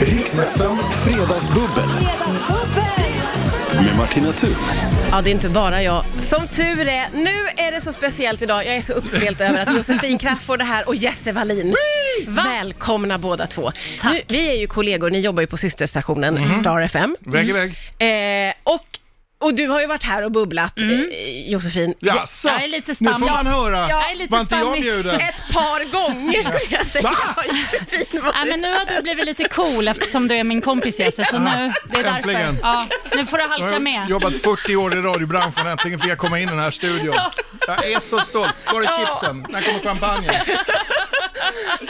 Riksfem Fredagsbubbel med Martina Thun. Ja, det är inte bara jag. Som tur är, nu är det så speciellt idag. Jag är så uppspelt över att Josefin Crafoord är här och Jesse Wallin. Välkomna båda två. Tack. Mm. Nu, vi är ju kollegor, ni jobbar ju på systerstationen Star FM. Väg i väg. Eh, och, och du har ju varit här och bubblat, Mm. eh, Josefin. Jaså? Jag är lite Nu får stammis. man höra. Ja, jag är lite Var inte jag stammis. bjuden? Ett par gånger skulle jag säga Va? har Josefin Ja, varit men nu har du blivit lite cool eftersom du är min kompis Jesse, så nu, det är Äntligen. därför. Ja, nu får du Jag halka har med. jobbat 40 år i radiobranschen, äntligen fick jag komma in i den här studion. Jag är så stolt. Var är chipsen? När kommer champagnen?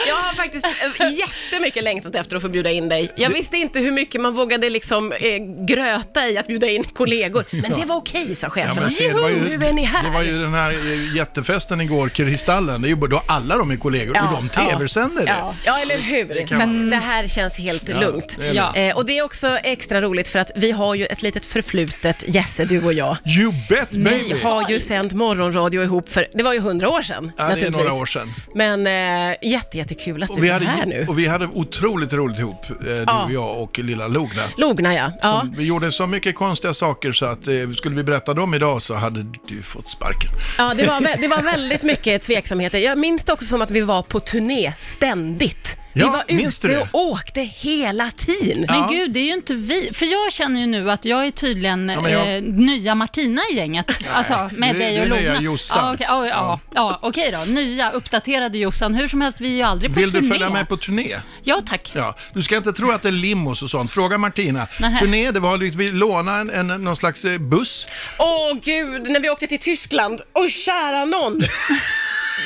Jag har faktiskt eh, jättemycket längtat efter att få bjuda in dig. Jag visste inte hur mycket man vågade liksom eh, gröta i att bjuda in kollegor. Men det var okej, sa Ja, chefen. men se, det, var ju, nu är ni här. det var ju den här eh, jättefesten igår, Kristallen. Det är ju bara- då alla de är kollegor Ja, och de tv-sänder det. Ja, ja eller hur? så att det här känns helt lugnt. det är Ja. Eh, och det är också extra roligt för att vi har ju ett litet förflutet, Jesse, du och jag. You bet baby! Vi har ju sänt morgonradio ihop för, det var ju hundra år sedan Ja, det är naturligtvis. några år sedan. Men eh, jätte, jättekul att Och du vi, är här hade, nu. och vi hade otroligt roligt ihop, eh, du Ja. och jag och lilla Logna. Logna ja. ja. Vi gjorde så mycket konstiga saker så att eh, skulle vi berätta dem idag så hade du fått sparken. Ja, det var, vä- det var väldigt mycket tveksamheter. Jag minns det också som att vi var på turné ständigt. Ja, vi var minns ute du det? och åkte hela tiden. Men gud, det är ju inte vi. För jag känner ju nu att jag är tydligen men jag- eh, nya Martina i gänget. alltså, med det- dig det och är Lona. nya Jossan. Ja, okej, ja, ja, ja, okej då. Nya, uppdaterade Jossan. Hur som helst, vi är ju aldrig på Vill turné. du följa med på turné? Ja, tack. Ja. Du ska inte tro att det är limos och sånt. Fråga Martina. Nähä. Turné, det var lite, vi lånade en, en, någon slags eh, buss. Åh gud, när vi åkte till Tyskland. Åh kära någon!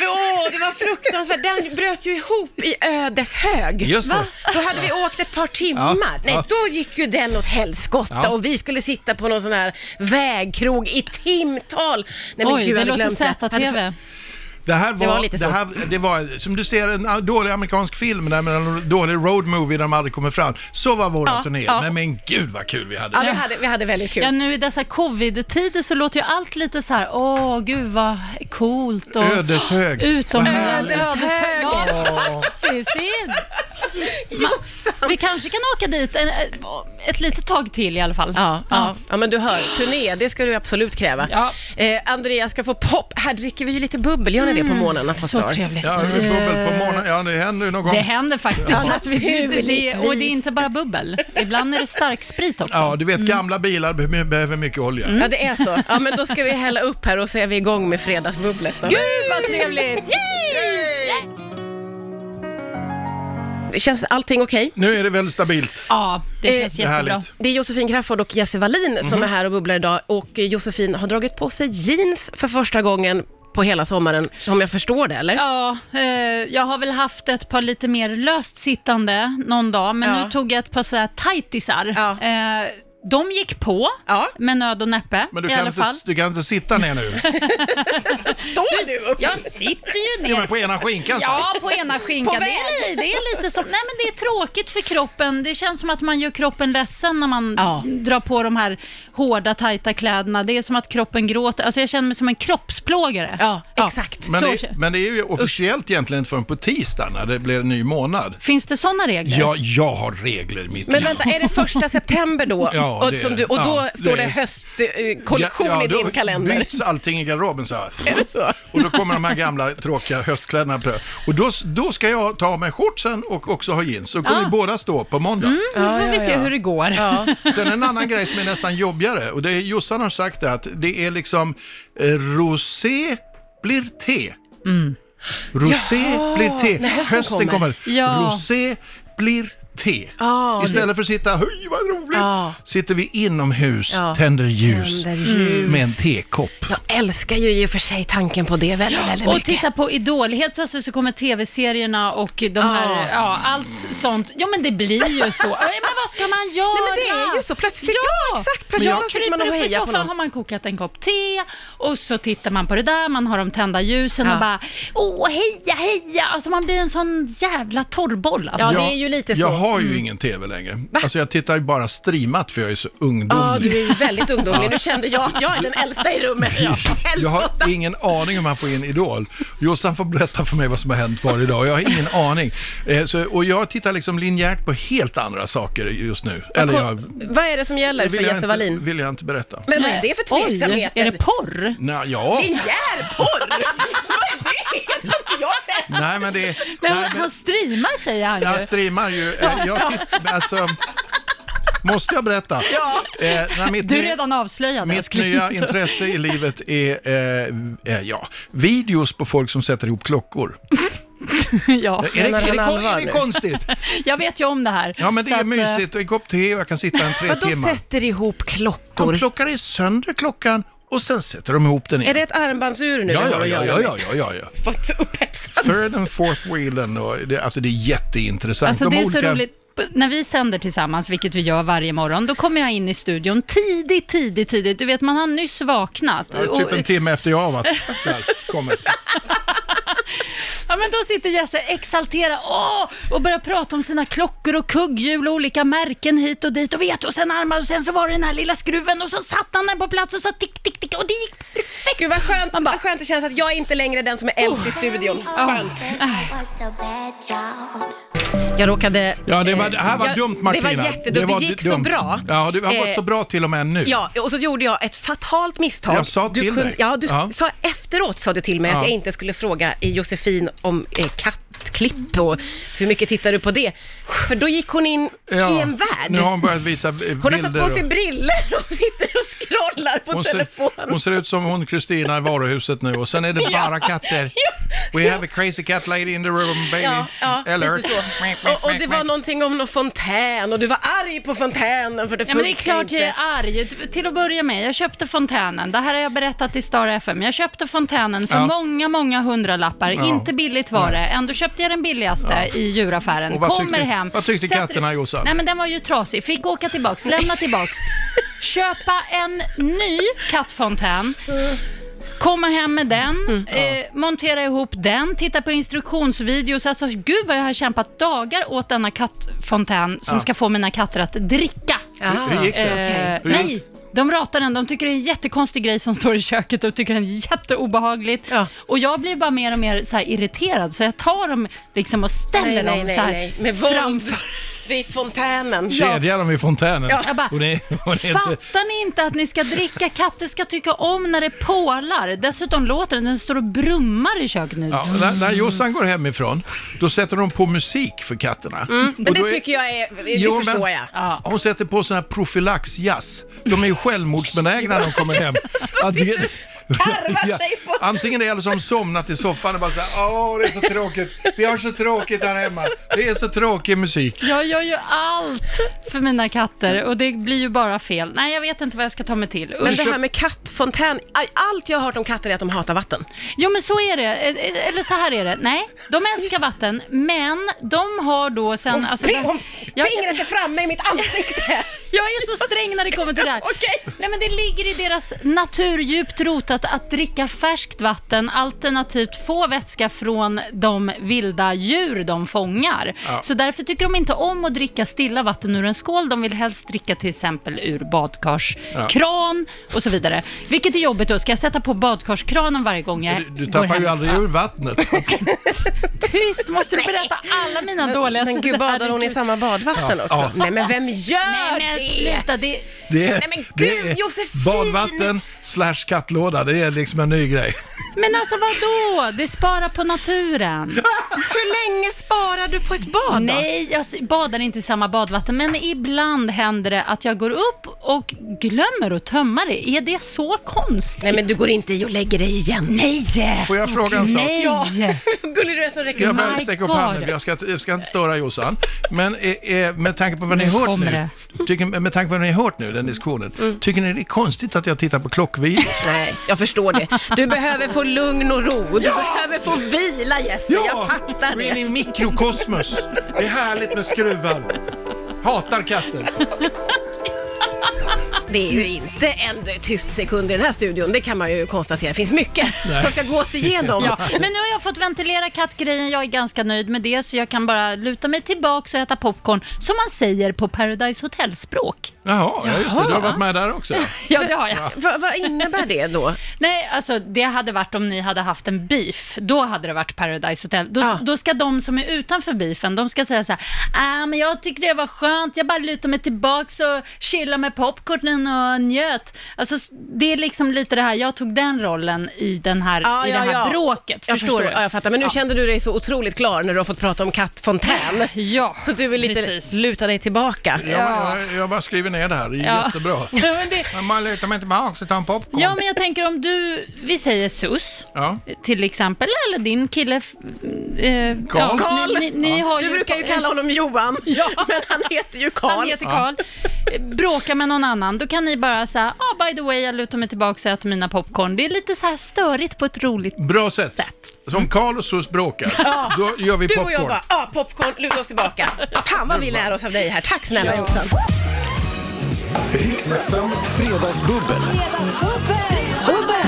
Åh, det var fruktansvärt. Den bröt ju ihop i Ödeshög. Just det. Då hade vi åkt ett par timmar. Ja, Nej, ja. då gick ju den åt helskotta Ja. och vi skulle sitta på någon sån här vägkrog i timtal. Nej, men Oj, gud, jag det hade låter glömt det. Hade ZTV. Det här var, det var var, lite det så. här, det var som du ser, en ah, dålig amerikansk film, där, med en dålig road movie där de aldrig kommer fram. Så var våra Ja, turné. ja. Nej men gud vad kul vi hade. Ja, vi hade, vi hade väldigt kul. Ja, nu i dessa covid-tider så låter ju allt lite så här, åh gud vad coolt och Ödeshög. utomhus. Vad härligt. Ödeshög. Ja, faktiskt. Det är... Jossan! Vi kanske kan åka dit en, eh, ett litet tag till i alla fall. Ja, ja. ja, men du hör, turné, det ska du absolut kräva. Ja. Eh, Andreas ska få pop. Här dricker vi ju lite bubbel, gör ni det på morgnarna på Så Star? trevligt. Ja, det är bubbel på morgonen. Ja, det händer ju någon gång. Det händer faktiskt. Ja, det, det, och det är naturligtvis. inte bara bubbel. Ibland är det starksprit också. Ja, du vet gamla bilar be- behöver mycket olja. Mm. Ja, det är så. Ja, men då ska vi hälla upp här och så är vi igång med fredagsbubblet. Då. Gud vad trevligt! Yay! Det Känns allting okej? Nu är det väl stabilt. Ja, det Eh, känns det är jättebra. härligt. Det är Josefin Crafoord och Jesse Wallin som är här och bubblar idag och eh, Josefin har dragit på sig jeans för första gången på hela sommaren, som jag förstår det, eller? Ja, eh, jag har väl haft ett par lite mer löst sittande någon dag, men Ja. nu tog jag ett par sådär tajtisar. Ja. Eh, de gick på Ja. med nöd och näppe Men du i kan, alla inte, fall. du kan inte sitta ner nu. Står du upp? Jag sitter ju Du ner. är på ena skinkan. så. Ja, på ena På skinkan. Det är, det är lite som, nej men det är tråkigt för kroppen. Det känns som att man gör kroppen ledsen när man Ja. drar på de här hårda, tajta kläderna. Det är som att kroppen gråter. Alltså jag känner mig som en kroppsplågare. Ja, exakt. Men Så det, känner- men det är ju officiellt egentligen inte förrän på tisdag när det blir en ny månad. Finns det sådana regler? Ja, jag har regler i mitt Men liv. vänta, är det första september då? Ja, och, det som är du, och det. då Ja, står det, det är- höstkollektion i då din kalender? byts allting i garderoben så här. Är det så? Och då kommer de här gamla tråkiga höstkläderna på. Och då, då ska jag ta av mig shortsen och också ha jeans. Så kommer Ah. vi båda stå på måndag. Nu Ja, får ja, vi se ja. hur det går. Ja. Sen en annan grej som är nästan jobbigare och det är Jossan har sagt det att det är liksom eh, rosé blir te. Rosé Jaha, blir te. Mm. när hösten kommer. Ja. Rosé blir te. Ja, Istället för att sitta, hej vad roligt, Ja. sitter vi inomhus, Ja. tänder ljus Tänder ljus. med en tekopp. Jag älskar ju i och för sig tanken på det väldigt, väldigt Och mycket. titta på Idol, helt plötsligt så kommer tv-serierna och de här, ja, allt sånt. Ja men det blir ju så. Eh, Men vad ska man göra? Nej, men det är ju så. Plötsligt- ja, exakt. Plötsligt jag sitter man och kryper upp i hejar på någon. soffan, har man kokat en kopp te och så tittar man på det där, man har de tända ljusen Ja. och bara, åh heja, heja. Alltså man blir en sån jävla torrboll. Alltså. Ja, det är ju lite så. Mm. Jag har ju ingen tv längre. Alltså jag tittar ju bara streamat för jag är så Ja, ungdomlig. du är ju väldigt ungdomlig. Nu kände jag att jag är den äldsta i rummet. Jag har Helskotta! ingen aning om han får in Idol. Jossan får berätta för mig vad som har hänt varje dag. Jag har ingen aning. Eh, så, och jag tittar liksom linjärt på helt andra saker just nu. Eller jag, Vad är det som gäller för vill, jag Jesse inte, Wallin? vill jag inte berätta. Men vad är det för Oj, tveksamhet? är det porr? Nej, ja. Linjärporr? Vad är det? Det har inte jag sett. Nej, men det... Nej, nej, han men- han streamar säger han Jag ju. streamar ju. eh, Jag titt, alltså, måste jag berätta? Ja. Eh, nej, mitt Du är ny- redan avslöjad Mitt älskling. nya Så- intresse i livet är eh, eh, ja, videos på folk som sätter ihop klockor. ja. Är det, är det, Menar han är det, kon- allvar är det nu? konstigt? Jag vet ju om det här. Ja, men det Så är att, eh, mysigt och en kopp te och jag kan sitta en tre Vadå timmar. sätter ihop De klockor? plockar i sönder klockan och sen sätter de ihop den Är igen. det ett armbandsur nu? Ja, vi har ja, att göra ja, ja, med? ja, ja, ja, ja. Vad så upphetsad. Third and fourth wheelen och det, alltså det är jätteintressant. Alltså De det är så olika- roligt. B- När vi sänder tillsammans, vilket vi gör varje morgon, då kommer jag in i studion tidigt, tidigt, tidigt. Du vet, man har nyss vaknat. Ja, typ en timme efter jag har varit där, kommit. ja, men då sitter Jesse exalterad åh, och börjar prata om sina klockor och kugghjul och olika märken hit och dit och vet och sen armar och sen så var det den här lilla skruven och så satt han den på plats och så tick, tick, tick och det gick perfekt. Gud vad skönt, Man bara- Oh, vad skönt det känns att jag inte längre är den som är äldst i studion. Skönt. Jag råkade... Ja, det, var, eh, det här var jag- dumt Martina. Det var jättedumt, det, var gick så dumt. bra. Ja, du har varit Eh, så bra till och med nu. Ja, och så gjorde jag ett fatalt misstag. Jag sa du till dig. Ja, du Ja. sa efteråt sa du till mig Ja. att jag inte skulle fråga eh, Josefin om eh, kattklipp och hur mycket tittar du på det? För då gick hon in i en värld. Nu har hon börjat visa eh, bilder. hon har satt på sig och- briller och sitter och scrollar på hon ser, telefonen. hon ser ut som hon Kristina i varuhuset nu och sen är det bara katter. We have a crazy cat lady in the room baby. Ja, ja, Eller... lite så. Och, och det var någonting om någon fontän och du var arg på fontänen för det Ja, men det är funkar klart inte. jag är arg. T- Till att börja med, jag köpte fontänen. Det här har jag berättat i Star FM. Jag köpte fontänen för Ja. många, många hundralappar. Ja. Inte billigt var det. Ändå köpte jag den billigaste i djuraffären. Och vad Kommer tyckte- hem. vad tyckte sätter- katterna, Jossan? Nej, men den var ju trasig. Fick åka tillbaks, lämna tillbaks. Köpa en ny kattfontän. Komma hem med den, Mm. eh, montera ihop den, titta på instruktionsvideos. Alltså, gud vad jag har kämpat dagar åt denna kattfontän som Ja. ska få mina katter att dricka. Ah, Hur- hur gick det? okej. Eh, Hur gick nej, de ratar den. De tycker det är en jättekonstig grej som står i köket och tycker den är jätteobehagligt. Ja. Och jag blir bara mer och mer så här irriterad, så jag tar dem liksom och ställer Nej, nej, dem nej, så här nej. Med våld framför. vid fontänen. Kedjar dem i fontänen. Jag bara, Och det, och det är inte... Fattar ni inte att ni ska dricka? Katter ska tycka om när det pålar. Dessutom låter den, den står och brummar i köket nu. Ja, när, när Jossan går hemifrån, då sätter de på musik för katterna. Mm, Men det tycker jag är, det Jo, förstår men- jag. Ja. Hon sätter på sån här profylaxjazz. De är ju självmordsbenägna när de kommer hem. Antingen, karvar sig på- antingen det eller så har de somnat i soffan och bara så här, åh det är så tråkigt, vi har så tråkigt här hemma, det är så tråkig musik. Jag gör ju allt för mina katter och det blir ju bara fel. Nej, jag vet inte vad jag ska ta mig till. Usch. Men det här med kattfontän, aj, allt jag har hört om katter är att de hatar vatten. Jo men så är det, Eh, eller så här är det. Nej, de älskar vatten, men de har då sen... alltså, det- Ping, jag, Fingret är framme i mitt ansikte. jag är så sträng när det kommer till det här. Okej. Nej men det ligger i deras natur djupt rotat att dricka färskt vatten alternativt få vätska från de vilda djur de fångar. Ja. Så därför tycker de inte om att dricka stilla vatten ur en skål. De vill helst dricka till exempel ur badkarskran och så vidare. Vilket är jobbigt då. Ska jag sätta på badkarskranen varje gång jag Du, du går tappar hem? ju aldrig Ja. ur vattnet. Tyst, måste du berätta alla mina dåliga Men sidor? gud, badar hon i Herregud. samma badvatten också? ja. Nej men vem gör Nej, men det? sluta. Det, Det är, men det gud, är Josefin! badvatten slash kattlåda, det är liksom en ny grej. men alltså vadå? Det sparar på naturen. Hur länge sparar du på ett bad då? Nej, jag s- badar inte i samma badvatten, men ibland händer det att jag går upp och glömmer att tömma det. Är det så konstigt? Nej men du går inte i och lägger dig igen. Nej! Får jag fråga en sak? Nej! Ja. Gullig du är som räcker Jag upp behöver My sträcka upp God. handen, jag ska, jag ska inte störa Jossan. Men eh, eh, med tanke på vad ni Nu hört kommer Mm. nu, tycker, med tanke på vad ni hört nu, den diskussionen, tycker ni det är konstigt att jag tittar på klockvideo? Nej, jag förstår det. Du behöver få lugn och ro. Du behöver få vila Jesse, jag fattar gå in det. i mikrokosmos. Det är härligt med skruvar. Hatar katter. det är ju inte en tyst sekund i den här studion. Det kan man ju konstatera. Det finns mycket som ska gås igenom. Ja, men nu har jag fått ventilera kattgrejen, jag är ganska nöjd med det, så jag kan bara luta mig tillbaka och äta popcorn, som man säger på Paradise Hotel-språk. Jaha, ja, just det. Du har varit med där också. Ja, det har jag. Va, vad innebär det då? Nej, alltså det hade varit om ni hade haft en beef. Då hade det varit Paradise Hotel. Då, Ja. då ska de som är utanför beefen, de ska säga så här, äh, men jag tycker det var skönt, jag bara lutar mig tillbaks och chillar med popcornen och njöt. Alltså s- det är liksom lite det här, jag tog den rollen i, den här, i det här bråket. Jag förstår, förstår. du? Ja, jag fattar. Men nu kände du dig så otroligt klar när du har fått prata om kattfontän. Ja, Så du vill lite precis. luta dig tillbaka. Ja, jag, jag bara skriver ner det här. Det är Ja. jättebra. Ja, men det, Men man lutar mig tillbaka och tar en popcorn. ja, men jag tänker om du, vi säger sus. Ja. till exempel, eller din kille... f- eh, Karl. ja, ni, ni, ni har Du ju- brukar ju kalla honom Johan, men han heter ju Han Karl. heter Karl. Eh, Bråka med någon annan, då kan ni bara säga, ah by the way, jag lutar mig tillbaka och äter mina popcorn. Det är lite så här störigt på ett roligt... Bra sätt. Som Karl och Sus bråkar, då gör vi Du popcorn. och jag bara, ja popcorn, luta oss tillbaka. Fan vad vi lär oss av dig här. Tack snälla Jossan. Riks FM Fredagsbubbel.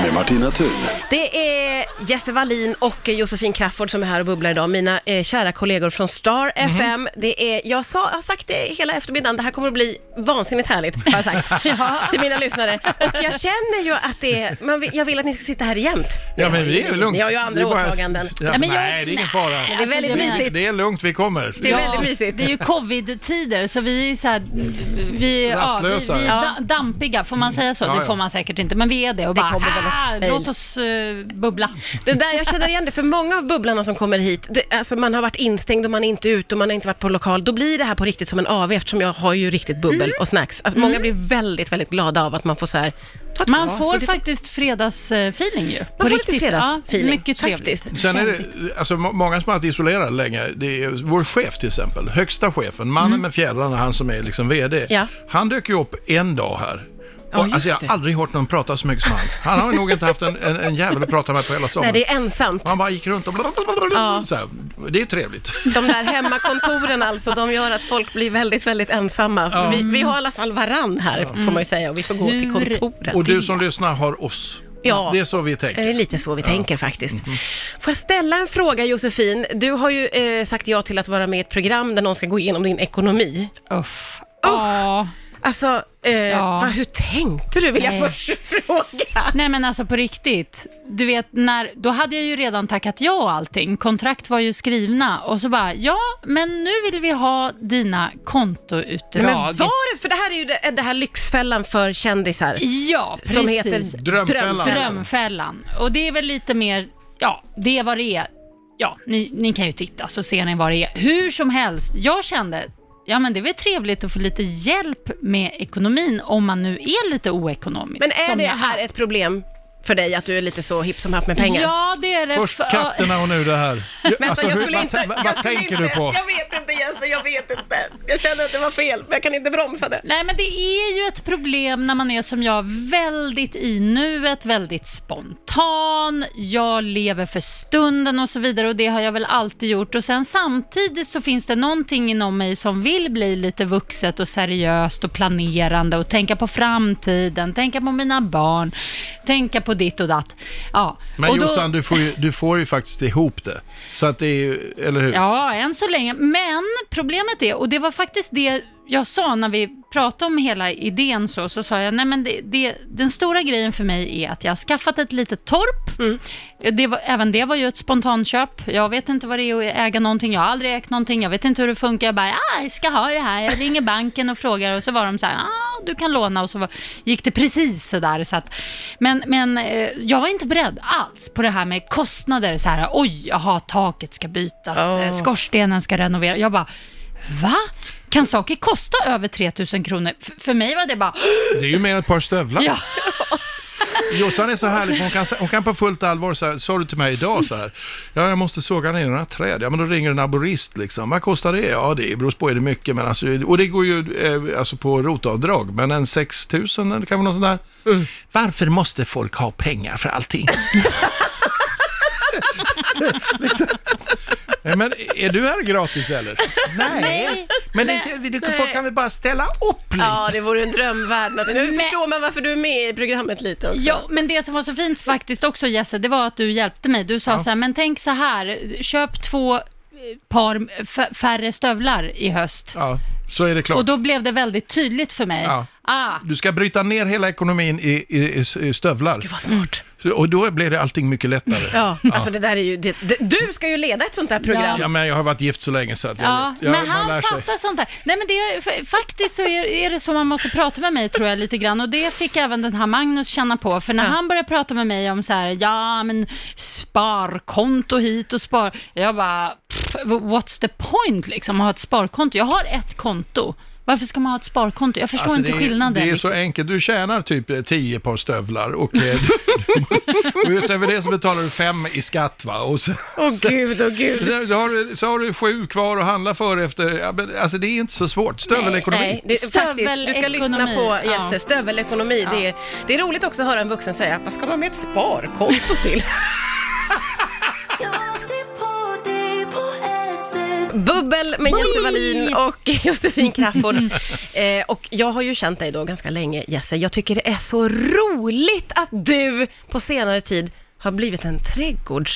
Med Martina Thun. Det är Jesse Wallin och Josefin Crafoord som är här och bubblar idag. Mina eh, kära kollegor från Star Mhm. FM. Det är, jag, sa, jag har sagt det hela eftermiddagen, det här kommer att bli vansinnigt härligt, har jag sagt till mina lyssnare. Och jag känner ju att det är, man vill, jag vill att ni ska sitta här jämt. Ja, men det är lugnt. Ni har ju andra Det är bara- åtaganden. Ja, Nej, men jag- Alltså, Nej, det är ingen fara. Det är väldigt det är- mysigt. Det är lugnt, vi kommer. Det är väldigt mysigt. Det är ju covid-tider, så vi är ju så här, vi, ja, vi, Rastlösa, vi är ja. da- dampiga. Får man säga så? Ja, det ja. får man säkert inte, men vi är det och Det bara, kommer väl något ah, mejl." låt oss eh, bubbla. Det där, jag känner igen det, för många av bubblarna som kommer hit, det, alltså man har varit instängd och man är inte ute och man har inte varit på lokal, då blir det här på riktigt som en AV eftersom jag har ju riktigt bubbel Mm. och snacks. Alltså, Många blir väldigt, väldigt glada av att man får så här, ta ett Man glas får och det- faktiskt fredagsfeeling ju. man får lite fredagsfeeling. Ja, mycket trevligt. Faktiskt. Sen är det, alltså må- många som har varit isolerade länge, det är vår chef till exempel, högsta chefen, mannen med fjädrarna, han som är liksom VD, Mm. Ja. han dök ju upp en dag här. Ja, Och, just alltså jag det. har aldrig hört någon prata så mycket som han. Han har nog inte haft en, en, en jävel att prata med på hela Nej, sommaren. det är ensamt. Han bara gick runt och Ja. så här. Det är trevligt. De där hemmakontoren alltså, de gör att folk blir väldigt, väldigt ensamma. Vi, vi har i alla fall varann här, får man ju säga, och vi får gå till Tur. kontoret. Mm. Och du som lyssnar har oss. Ja. Det är så vi Det är tänker. lite så vi tänker faktiskt. Mhm. Får jag ställa en fråga Josefin? Du har ju eh, sagt ja till att vara med i ett program där någon ska gå igenom din ekonomi. Uff. Ja. Alltså, eh, Ja. va, hur tänkte du vill jag Nej. först fråga? Nej men alltså på riktigt, du vet när, då hade jag ju redan tackat ja och allting, kontrakt var ju skrivna och så bara, ja men nu vill vi ha dina kontoutdrag. Men var det, för det här är ju det, det här lyxfällan för kändisar. Ja, precis. Som heter Drömfällan. Drömfällan. Och det är väl lite mer, ja, det är vad det är. Ja, ni, ni kan ju titta så ser ni vad det är. Hur som helst, jag kände, ja men det är väl trevligt att få lite hjälp med ekonomin om man nu är lite oekonomisk. Men är som det jag här är. ett problem för dig, att du är lite så hipp som happ med pengar? Ja, det är det. Först För- katterna och nu det här. Vänta, Alltså, jag hur- skulle vad inte... tän- jag vad skulle tänker inte, du på? Jag vet inte Jesse, jag vet inte. Jag känner att det var fel, men jag kan inte bromsa det. Nej, men det är ju ett problem när man är som jag, väldigt i nuet, väldigt spontan. Jag lever för stunden och så vidare och det har jag väl alltid gjort. Och sen samtidigt så finns det någonting inom mig som vill bli lite vuxet och seriöst och planerande och tänka på framtiden, tänka på mina barn, tänka på ditt och datt. Ja. Men och då- Jossan, du får, ju, du får ju faktiskt ihop det. Så att det är ju, eller hur? Ja, än så länge. Men problemet är, och det var faktiskt det jag sa när vi pratade om hela idén så, så sa jag, nej men det, det, den stora grejen för mig är att jag har skaffat ett litet torp. Mm. Det var, även det var ju ett spontanköp. Jag vet inte vad det är att äga någonting, jag har aldrig ägt någonting, jag vet inte hur det funkar. Jag bara, "Ah, jag ska ha det här. Jag ringer banken och frågar och så var de så här, ah, du kan låna och så var, gick det precis så där. Så att, men men eh, jag var inte beredd alls på det här med kostnader, så här, oj, jaha, taket ska bytas, Ja. eh, skorstenen ska renoveras. Jag bara, va? Kan saker kosta över 3000 kronor? F- för mig var det bara, Det är ju mer än ett par stövlar. ja, Jossan är så härlig, för hon kan, hon kan på fullt allvar så här, sa du till mig idag så här, ja jag måste såga ner några träd, ja men då ringer en arborist liksom, vad kostar det? Ja det beror på, är det mycket? Men alltså, och det går ju eh, alltså på rotavdrag, men en 6 000 eller kanske något sånt där. Mm. Varför måste folk ha pengar för allting? liksom, Nej, men är du här gratis eller? Nej. Men det, det, det, folk kan väl bara ställa upp liksom? lite? Ja, det vore en drömvärld. Natten. Nu Men- förstår man varför du är med i programmet lite också. Ja, men det som var så fint faktiskt också Jesse, det var att du hjälpte mig. Du sa så här, men tänk så här, köp två eh, par f- färre stövlar i höst. Ja, så är det klart. Och då blev det väldigt tydligt för mig. Ja. Ah, Du ska bryta ner hela ekonomin i, i, i stövlar. Gud vad smart. Så- Och då blir det allting mycket lättare. Ja, alltså det där är ju... Det, det, du ska ju leda ett sånt där program. Ja, men jag har varit gift så länge så att jag Ja, vet. Jag, men man han lär sig. fattar sånt där. Nej, men det är, fa- faktiskt så är, är det så man måste prata med mig, tror jag, lite grann. Och det fick även den här Magnus känna på. För när han började prata med mig om så här, ja, men sparkonto hit och spar... Jag bara, pff, what's the point liksom, att ha ett sparkonto? Jag har ett konto. Varför ska man ha ett sparkonto? Jag förstår Alltså, inte det, är- skillnaden. det är riktigt. så enkelt. Du tjänar typ eh, 10 par stövlar och, eh, du- och utöver det så betalar du fem i skatt va. Och så, Åh gud, åh gud. så, har du, så har du sju kvar att handla för efter. Ja, men, alltså det är inte så svårt. Stövel-ekonomi. Nej, det, faktiskt, du ska lyssna Stövelekonomi, på ja. Jesse, stövelekonomi. Det, är, det är roligt också att höra en vuxen säga, vad ska man med ett sparkonto till? Bubbel med Jesse Wallin och Josefin Crafoord. eh, och jag har ju känt dig då ganska länge, Jesse. Jag tycker det är så roligt att du på senare tid har blivit en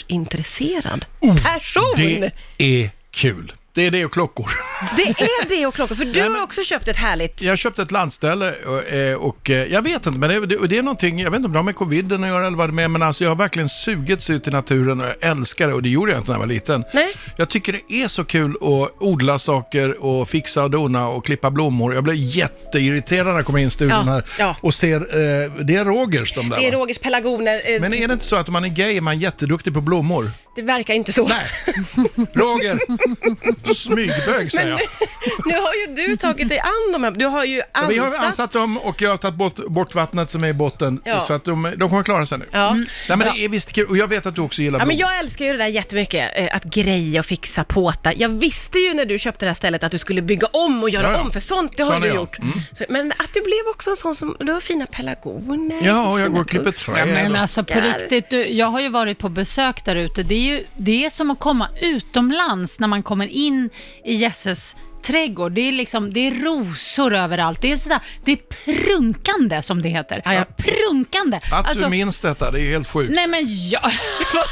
trädgårdsintresserad person. Oh, Det är kul. Det är det och klockor. Det är det och klockor, för du har också köpt ett härligt... Jag köpte ett landställe och, eh, och eh, jag vet inte, men det, det, det är någonting, jag vet inte om det har med coviden att göra eller vad det är, men alltså jag har verkligen sugits ut i naturen och jag älskar det och det gjorde jag inte när jag var liten. Nej. Jag tycker det är så kul att odla saker och fixa och dona och klippa blommor. Jag blev jätteirriterad när jag kom in i studion Ja, här ja. och ser, eh, det är Rogers de där Det är va? Rogers pelargoner. Eh, Men är det inte så att om man är gay är man jätteduktig på blommor? Det verkar ju inte så. Nej, Roger! Smygbög säger jag. Nu har ju du tagit dig an de här, du har ju Ja, ansatt... Vi har ansatt dem och jag har tagit bort, bort vattnet som är i botten. Ja. Så att de, de kommer klara sig nu. Ja. Nej, men det är visst kul. Och jag vet att du också gillar Ja, men blommor. jag älskar ju det där jättemycket, eh, att greja och fixa, påta. Jag visste ju när du köpte det här stället att du skulle bygga om och göra Ja, ja. om, för sånt det har Sån du är jag. Mm. gjort. Så, men att du blev också en sån som, du har fina pelargoner. Ja, och jag fina går och klipper buskar. träd. Nej, men då. alltså på riktigt, du, jag har ju varit på besök där ute. Det är ju det är som att komma utomlands när man kommer in i Jesses trädgård. Det är liksom, det är rosor överallt. Det är sådär, det är prunkande som det heter. Ja, ja. Prunkande. Att Alltså, du minns detta, det är helt sjukt. Nej men ja...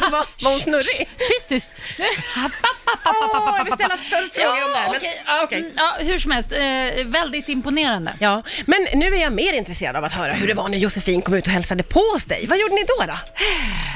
Vad- vad- Var hon snurrig? Tyst, tyst. Nu- App, app, app, app, app, Åh, app, jag vill app, ställa app. följdfrågor om det här, Ja, men- okej, ja, okej. mm, ja, hur som helst, eh, väldigt imponerande. Ja, men nu är jag mer intresserad av att höra hur det var när Josefin kom ut och hälsade på hos dig. Vad gjorde ni då? då?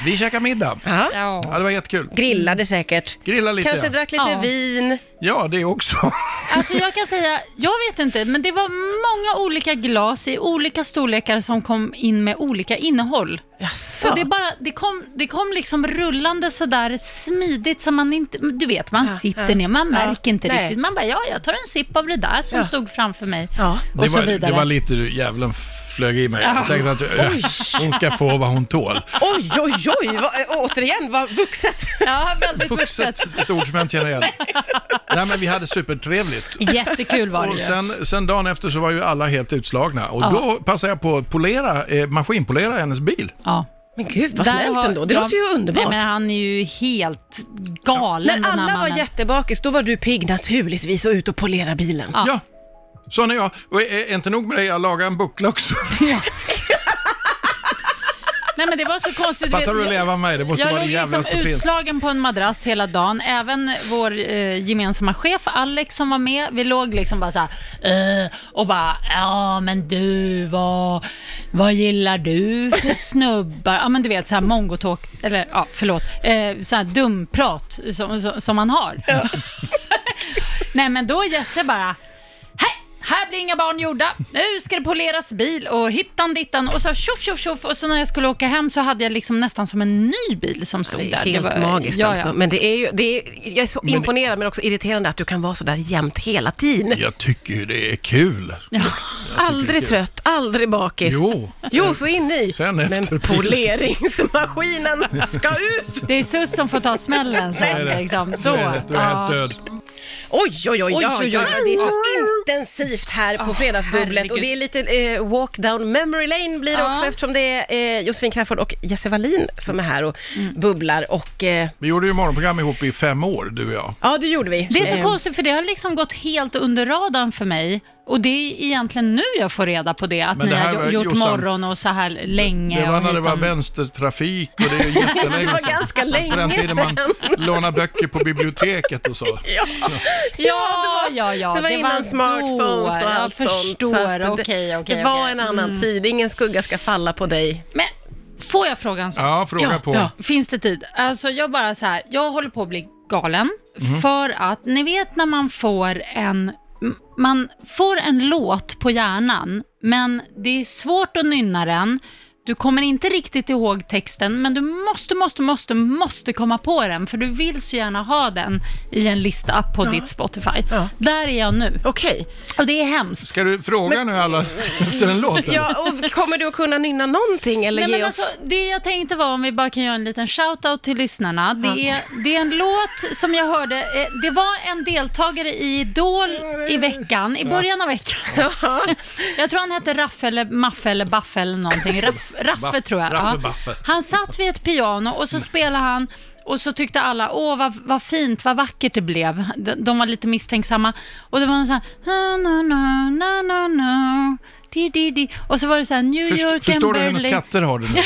Vi käkar middag. Ja. Ja, det var jättekul. Grillade säkert. Grilla lite, Kanske ja. drack lite Ja. vin. Ja, det också. Alltså jag kan säga, jag vet inte, men det var många olika glas i olika storlekar som kom in med olika innehåll. Jaså? Så det, bara, det, kom, det kom liksom rullande sådär smidigt som man inte, du vet man sitter ja. ner, man Ja, märker inte nej. riktigt. Man bara, ja jag tar en sipp av det där som Ja. stod framför mig. Ja. Och det, så var, vidare. det var lite du, djävulen flög i mig. Jag tänkte att eh, hon ska få vad hon tål. Oj, oj, oj! Vad, återigen, vad vuxet. Ja, väldigt vuxet. Vuxet, ett ord som jag inte känner igen. Nej, men vi hade supertrevligt. Jättekul var det Och ju. sen, sen dagen efter så var ju alla helt utslagna och Ja. då passade jag på att polera, eh, maskinpolera hennes bil. Ja. Men gud, vad Där snällt har- ändå. Det ja, låter ju underbart. Nej, men han är ju helt galen När den här alla var mannen. jättebakis, då var du pigg naturligtvis och ut och polera bilen. Ja. Ja, sån är jag. Och eh, är är inte nog med det, jag lagar en buckla också. Nej men det var så konstigt. Fattar vet, du att jag- leva med mig? Det måste jag vara låg det jävligaste liksom som finns. utslagen på en madrass hela dagen. Även vår eh, gemensamma chef Alex som var med, vi låg liksom bara såhär eh, och bara ja men du vad, vad gillar du för snubbar? Ja men du vet såhär mongotalk, eller ja förlåt, eh, såhär dumprat som, som, som man har. Nej men då Jesse bara "Hej, här blir inga barn gjorda. Nu ska det poleras bil och hittan dittan och så tjoff tjoff tjoff och så när jag skulle åka hem så hade jag liksom nästan som en ny bil som stod Det där. är helt var- magiskt ja, ja. alltså. Men det är ju, det är, jag är så imponerad men också irriterande att du kan vara så där jämt hela tiden. Jag tycker ju det är kul. Aldrig trött, aldrig bakis. Jo. Jo, så in i. Sen efter men bilen. poleringsmaskinen ska ut! Det är Sus som får ta smällen Så är sen det. liksom. Så. Så är det. Du är helt Ja. död. Oj, oj, oj, Oj, ja, oj, oj. ja, ja, det är så intensivt här på Åh, Fredagsbubblet och det är lite eh, walk down memory lane blir det Ja. också eftersom det är eh, Josefin Crafoord och Jesse Wallin som är här och Mm. bubblar och eh, Vi gjorde ju morgonprogram ihop i fem år, du och jag. ja, det gjorde vi. Det är så Eh, konstigt, för det har liksom gått helt under radarn för mig. Och det är egentligen nu jag får reda på det, att Men ni det här har var- jo- gjort Jossan, morgon och så här länge. Det var och när det hitan- var vänstertrafik och det är Det jättelänge var sedan. ganska På den länge tiden man sedan. lånade böcker på biblioteket och så. Ja. Ja, det var- ja, ja. det var innan smartphones då. och allt Jag sånt. så att förstår, det- okej, okej. Det var okej. Mm. en annan tid, ingen skugga ska falla på dig. Men får jag fråga en sak? Ja, fråga Ja, på. ja. Finns det tid? Alltså jag bara så här, jag håller på att bli galen Mhm. för att ni vet när man får en m- man får en låt på hjärnan, men det är svårt att nynna den. Du kommer inte riktigt ihåg texten, men du måste, måste, måste, måste komma på den, för du vill så gärna ha den i en lista på ditt Spotify. Ja. Där är jag nu. Okej. Och det är hemskt. Ska du fråga nu alla efter den låten? Ja, och kommer du att kunna nynna någonting eller Nej, ge men oss... alltså, det jag tänkte var om vi bara kan göra en liten shout-out till lyssnarna. Det är, det är en låt som jag hörde, eh, det var en deltagare i Idol i veckan, i början av veckan. Jag tror han hette Raffe eller Maffe eller Baffe eller någonting. Raff, Raffe tror jag. Raffe Mm. Ja. Baffe. Han satt vid ett piano och så spelade han och så tyckte alla, åh vad, vad fint, vad vackert det blev. De, de var lite misstänksamma. Och det var en sån här, "Ah, na, na, na, na, na, di, di, di. Och så var det så här, New Först, York förstår and du hur många Berlin. skatter har du nu?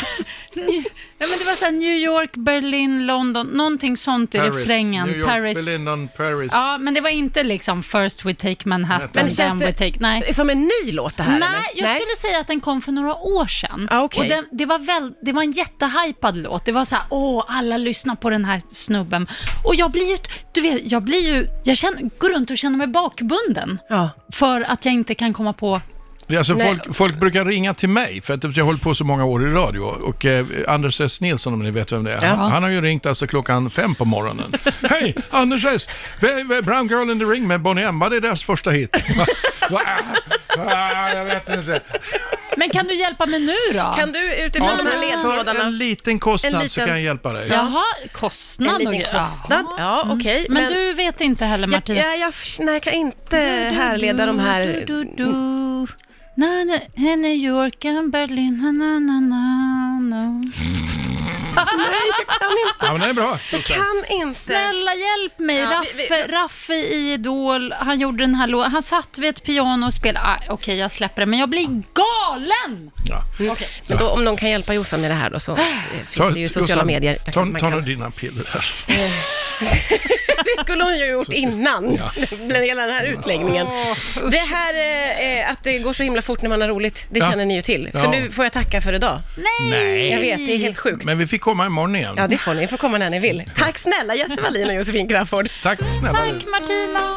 Ja, men det var så här New York, Berlin, London, någonting sånt i refrängen. New York, Paris. Berlin, Paris. Ja, men det var inte liksom First we take Manhattan, Men känns then det- we take... Nej. Som en ny låt det här Nej, eller? jag skulle säga att den kom för några år sedan. Ah, okej. Och den, det, var väl, det var en jättehypad låt. Det var så här, åh, alla lyssnar på den här snubben. Och jag blir ju, du vet, jag blir ju, jag känner, går runt och känner mig bakbunden. Ja. För att jag inte kan komma på, Det är Alltså Nej. folk, folk brukar ringa till mig för att jag har hållit på så många år i radio och eh, Anders S. Nilsson om ni vet vem det är, han, han har ju ringt alltså klockan fem på morgonen. Hej, Anders S. V- v- Brown Girl in the Ring med Bonnie M. Vad är deras första hit? Va? Va? Ah, jag vet inte. men kan du hjälpa mig nu då? Kan du utifrån de här För en ledtrådarna, liten kostnad En liten- så kan jag hjälpa dig. Jaha, kostnad en och liten grejer. kostnad? Jaha. Mm. Ja, okej. Men, du vet inte heller Ja, Martina? ja, jag, nej, jag kan inte härleda de här... Du, du, du. Na, na, här New York and Berlin, na, na, na, na, na. Ja, men den är bra. Kan inte. Snälla hjälp mig, Ja, vi- vi- Raffe, Raffe i Idol, han gjorde den här låten, han satt vid ett piano och spelade, ah, okej jag släpper det, men jag blir galen! Ja. Men Då, om någon kan hjälpa Jossan med det här då så eh, Äh. finns det ju sociala Jossan, medier. Där Ta, kan man ta kan- nu dina piller här. Det skulle hon ju ha gjort innan, med hela den här utläggningen. Det här eh, eh, att det går så himla fort när man har roligt, det Ja. känner ni ju till. För Ja. nu får jag tacka för idag. Nej. Jag vet, det är helt sjukt. Men vi fick komma imorgon igen. Ja, det får ni. Ni får komma när ni vill. Tack snälla Jesse Wallin och Josefin Crafoord. Tack snälla du. Tack Martina!